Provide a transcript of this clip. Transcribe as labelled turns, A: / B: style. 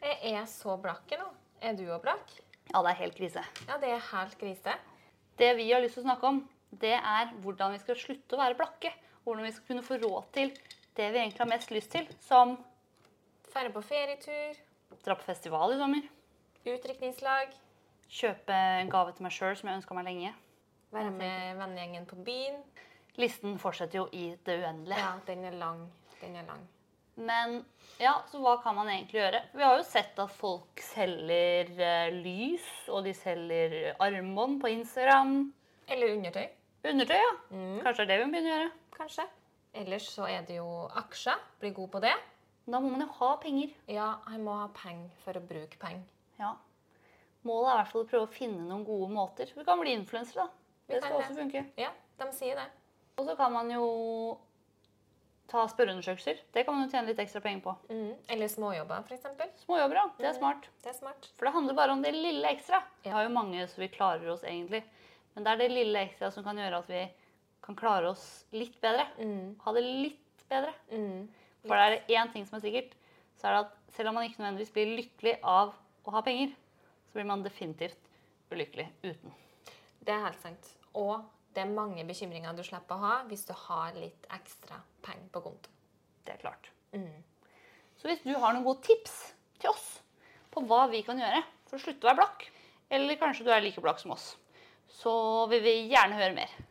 A: Jeg er så blakk nå. Er du òg blakk?
B: Ja, det er helt krise.
A: Ja, det er helt krise.
B: Det vi har lyst til å snakke om, det er hvordan vi skal slutte å være blakke. Hvordan vi skal kunne få råd til det vi egentlig har mest lyst til, som
A: Ferde på ferietur,
B: dra på festival i sommer,
A: utdrikningslag,
B: kjøpe en gave til meg sjøl som jeg ønska meg lenge.
A: være med vennegjengen på byen.
B: Listen fortsetter jo i det uendelige.
A: Ja, den er lang. Den er lang.
B: Men ja, så hva kan man egentlig gjøre? Vi har jo sett at folk selger eh, lys, og de selger armbånd på Instagram.
A: Eller undertøy,
B: Undertøy, ja. Kanskje det er det vi må begynne å gjøre.
A: kanskje. Ellers så er det jo aksjer. Bli god på det.
B: Da må man jo ha penger.
A: Ja, jeg må ha penger for å bruke penger.
B: Ja. Målet er i hvert fall å prøve å finne noen gode måter. Vi kan bli influensere, da.
A: Vi
B: Det
A: kan
B: skal
A: det.
B: også funke.
A: Ja, de sier det.
B: Og så kan man jo ta spørreundersøkelser. Det kan man jo tjene litt ekstra penger på.
A: Mm. Eller småjobber, f.eks.
B: Småjobber, da. Det er smart.
A: Det er smart.
B: For det handler bare om det lille ekstra. Vi
A: Ja.
B: har jo mange så vi klarer oss egentlig. Men det er det lille ekstra som kan gjøre at vi kan klare oss litt bedre.
A: Mm.
B: Ha det litt bedre.
A: Mm.
B: For er det én ting som er sikkert, så er det at selv om man ikke nødvendigvis blir lykkelig av å ha penger, så blir man definitivt ulykkelig uten.
A: Det er helt sant. Og det er mange bekymringer du slipper å ha hvis du har litt ekstra penger på konto.
B: Det er klart.
A: Mm.
B: Så hvis du har noen gode tips til oss på hva vi kan gjøre for å slutte å være blakk, eller kanskje du er like blakk som oss, så vil vi gjerne høre mer.